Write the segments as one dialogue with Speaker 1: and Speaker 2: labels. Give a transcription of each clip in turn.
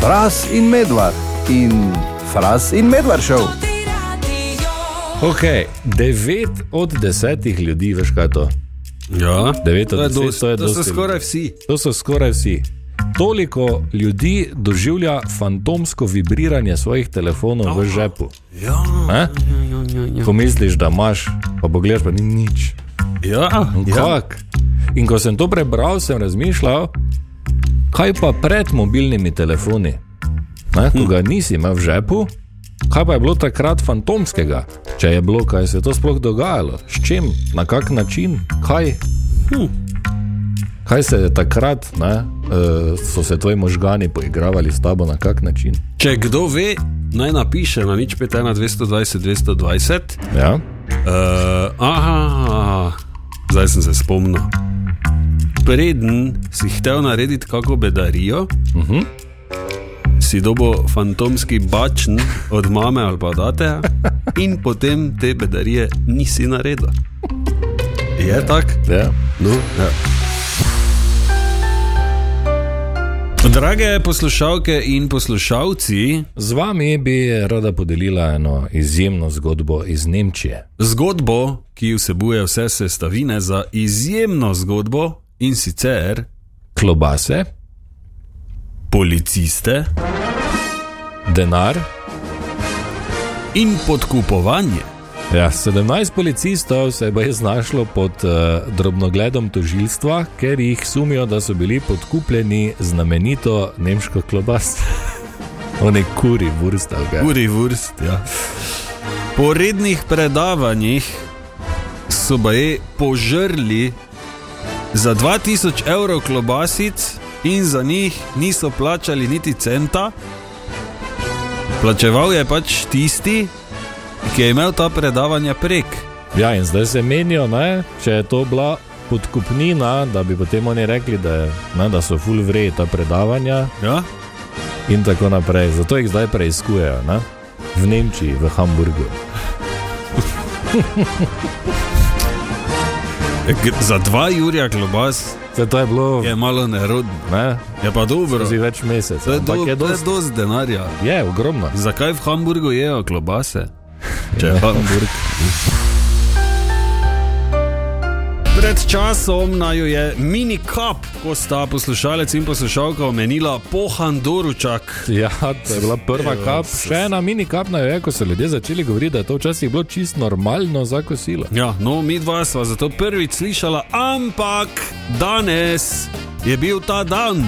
Speaker 1: Fras in medvard in fras in medvard šel.
Speaker 2: Ok, 9 od 10 ljudi, veš kaj je to.
Speaker 3: Ja,
Speaker 2: Devet od
Speaker 3: to je
Speaker 2: deset,
Speaker 3: dosti.
Speaker 2: to je
Speaker 3: To so
Speaker 2: dosti.
Speaker 3: skoraj vsi.
Speaker 2: To so skoraj vsi. Toliko ljudi doživlja fantomsko vibriranje svojih telefonov v žepu.
Speaker 3: Ja,
Speaker 2: Eh? Ko misliš, da imaš, pa pogledaš, pa ni nič.
Speaker 3: ja.
Speaker 2: In Kak? In ko sem to prebral, sem razmišljal, kaj pa pred mobilnimi telefoni, ne,
Speaker 3: Hm.
Speaker 2: ko ga nisi imel v žepu, kaj pa je bilo takrat fantomskega, če je bilo, kaj se je to sploh dogajalo, s čim, na kak način, kaj.
Speaker 3: Hm.
Speaker 2: Kaj se je takrat, ne, eh, so se tvoji možgani poigravali s tabo, na kak način?
Speaker 3: Če kdo ve, naj napiše na nič 5, 1, 220, 220.
Speaker 2: Ja?
Speaker 3: Uh, aha, zdaj sem se spomnil. Preden si hotel narediti kako bedarijo, uh -huh. si dobo fantomski bačen od mame ali pa date, in potem te bedarije nisi naredil. Je tako?
Speaker 2: Ja.
Speaker 3: No, ja. Drage poslušalke in poslušalci,
Speaker 2: Z vami bi rada podelila eno izjemno zgodbo iz Nemčije.
Speaker 3: zgodbo, ki vsebuje vse sestavine za izjemno zgodbo in sicer
Speaker 2: Klobase,
Speaker 3: policiste
Speaker 2: denar,
Speaker 3: in podkupovanje.
Speaker 2: Ja, 17 policistov se je baje znašlo pod uh, drobnogledom tožilstva, ker jih sumijo, da so bili podkupljeni znamenito nemško klobas. Oni kuri, vrsta ga.
Speaker 3: Uri vrst, ja. Po rednih predavanjih so baje požrli za 2000 evrov klobasic in za njih niso plačali niti centa. Plačeval je pač tisti, ki je imel ta predavanja prek.
Speaker 2: Ja, in zdaj se menijo, ne, če je to bila podkupnina, da bi potem oni rekli, da, je, ne, da so full vrej ta predavanja
Speaker 3: Ja?
Speaker 2: in tako naprej. Zato jih zdaj preiskujejo, ne? v Nemčiji, v Hamburgu.
Speaker 3: K- Za dva Jurija klobas
Speaker 2: Zdaj to je bilo,
Speaker 3: je malo nerodno.
Speaker 2: ne,
Speaker 3: Je pa dobro,
Speaker 2: že več
Speaker 3: Ja. to
Speaker 2: mesecev.
Speaker 3: je,
Speaker 2: ampak
Speaker 3: do,
Speaker 2: je
Speaker 3: to je
Speaker 2: dosti-
Speaker 3: dosti denarja.
Speaker 2: Je, ogromno.
Speaker 3: Zakaj v Hamburgu jejo klobase? Če je Hamburg. Pred časom naju je mini kap, ko sta poslušalec in poslušalka omenila pohan doručak.
Speaker 2: Ja, to je bila prva kap. Še ena mini kapna je, ko so ljudje začeli govoriti, da je to včasih bilo čisto normalno za kosilo.
Speaker 3: Ja, no, mi dva sva zato prvič slišala, ampak danes je bil ta dan,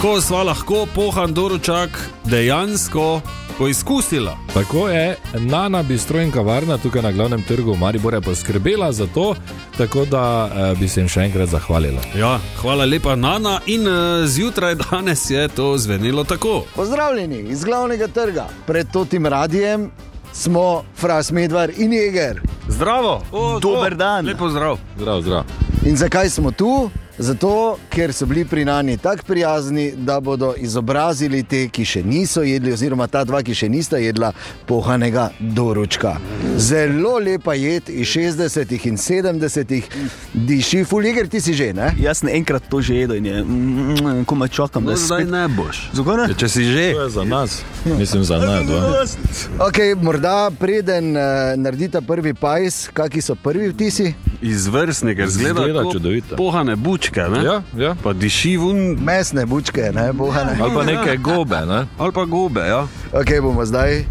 Speaker 3: ko sva lahko pohan doručak dejansko poizkusila.
Speaker 2: Tako je Nana Bistro in kavarna tukaj na glavnem trgu v Mariboru poskrbela za to, tako da eh, bi se jim še enkrat zahvalila.
Speaker 3: Ja, hvala lepa, Nana, in eh, zjutraj danes je to zvenelo tako.
Speaker 4: Pozdravljeni iz glavnega trga. Pred totim radijem smo Fras Medvar in Jeger.
Speaker 3: Zdravo, o,
Speaker 4: Dober dan.
Speaker 3: Lepo zdrav.
Speaker 2: Zdrav, zdrav.
Speaker 4: In zakaj smo tu? Zato, ker so bili pri nani tako prijazni, da bodo izobrazili te, ki še niso jedli, oziroma ta dva, ki še nista jedla pohanega doručka. Zelo lepa jed iz 60-ih in 70-ih, diši, fuliger ti si že, ne?
Speaker 5: Jaz sem enkrat to že jedel in je, mm, mm, ko me čakam, da se spet...
Speaker 3: ne boš.
Speaker 5: Zakaj ne?
Speaker 3: Ja, Če si že,
Speaker 2: To je za nas, mislim za nas dva.
Speaker 4: Okay, morda preden uh, naredita prvi pajs, kakšni so prvi vtisi?
Speaker 3: izvrstni, ker zgleda,
Speaker 2: Izgleda
Speaker 3: tako
Speaker 2: čudovito.
Speaker 3: Pohane bučke, ne?
Speaker 2: Ja, ja.
Speaker 3: Pa diši vun,
Speaker 4: Mesne bučke, ne bohane.
Speaker 2: Ali pa neke gobe, ne?
Speaker 3: ali pa gobe, ja.
Speaker 4: Ok, bomo zdaj.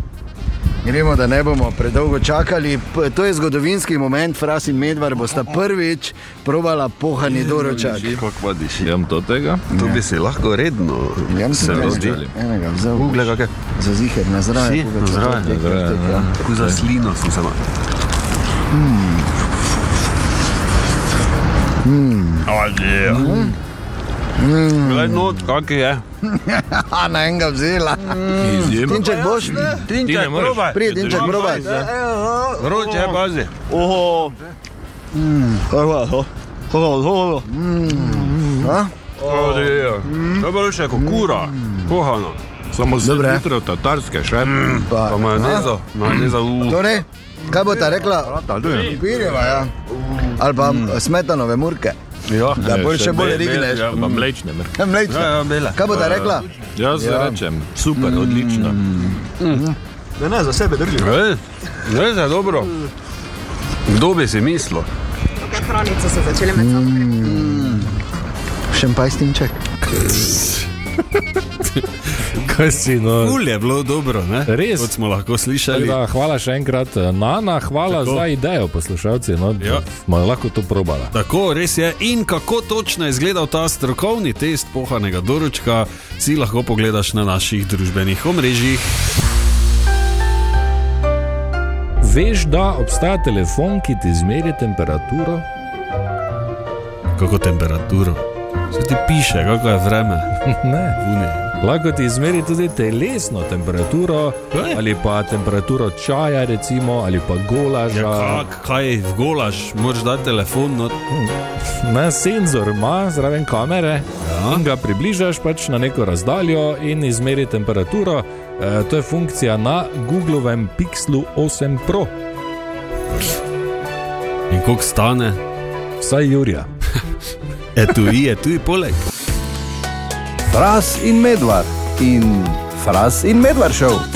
Speaker 4: Gremo, da ne bomo predolgo čakali. P- To je zgodovinski moment, Fras in Medvar bosta prvič probala pohani doročak.
Speaker 3: Kako pa diši?
Speaker 2: Jem to tega.
Speaker 3: To bi si lahko redno.
Speaker 4: Jem si enega-
Speaker 3: zdi.
Speaker 4: enega vzel.
Speaker 3: Google kakšne.
Speaker 4: Za ziher, na
Speaker 3: Si?
Speaker 4: zdravje.
Speaker 3: Na zdravje, na
Speaker 4: ja.
Speaker 3: Tako za slino sem se mal. Glej not, kak je.
Speaker 4: A na enega vzela.
Speaker 2: Izjemno.
Speaker 4: Tinček boš?
Speaker 2: Ti ne moreš.
Speaker 4: Pridi, Tinček, probaj.
Speaker 3: Vroče je, pazi.
Speaker 5: Oho. Hvala, hvala,
Speaker 4: Mm.
Speaker 5: hvala, hvala.
Speaker 4: A?
Speaker 2: Ja.
Speaker 3: To je bilo še kot kura, pohano.
Speaker 2: Samo
Speaker 4: Dobre. Mm,
Speaker 2: zjutraj tatarske še.
Speaker 4: Pa,
Speaker 3: Pa majoneza, majoneza v...
Speaker 4: Torej, kaj bo ta rekla? Pirjeva, ja. Ali pa mm. eh, smetanove murke. Jo, da bolj še bolj rigneš.
Speaker 2: Ja, pa mlečne. ne.
Speaker 4: Mlečna.
Speaker 3: Ja, Eh. ja, bela.
Speaker 4: Kaj bo ta rekla?
Speaker 2: Jaz ja. rečem, super, odlično.
Speaker 5: Ne, ne, za sebe drži.
Speaker 3: Ej, Ne, za dobro. Kdo bi si mislil?
Speaker 6: Kaj hranice so začele med sabo
Speaker 4: Šempajstinček.
Speaker 2: Kaj si no?
Speaker 3: Kul je bilo dobro, ne?
Speaker 2: Res.
Speaker 3: Kot smo lahko slišali.
Speaker 2: Da, hvala še enkrat, eh, Nana, hvala Tako.
Speaker 3: Tako.
Speaker 2: za idejo, poslušalci. No,
Speaker 3: Ja.
Speaker 2: ja. Smo lahko to probala.
Speaker 3: Tako, res je. In kako točno je izgledal ta strokovni test pohanega doručka, si lahko pogledaš na naših družbenih omrežjih.
Speaker 2: Veš, da obstaja telefon, ki ti izmeri temperaturo?
Speaker 3: Kako temperaturo. Se ti piše, kako je vreme.
Speaker 2: ne.
Speaker 3: Vune.
Speaker 2: Lahko ti izmeri tudi telesno temperaturo,
Speaker 3: Kaj?
Speaker 2: ali pa temperaturo čaja, recimo, ali pa golaža.
Speaker 3: Ja, kak, kaj vgolaš, moraš dati telefon. No.
Speaker 2: Na senzor ima zraven kamere ja. in ga približaš pač na neko razdaljo in izmeri temperaturo. E, to je funkcija na Googlovem Pixelu 8 Pro,
Speaker 3: In koliko stane?
Speaker 2: vsaj Jurija.
Speaker 3: E tu je, tu je poleg.
Speaker 1: Fras in Medvard in Fras in Medvard šel.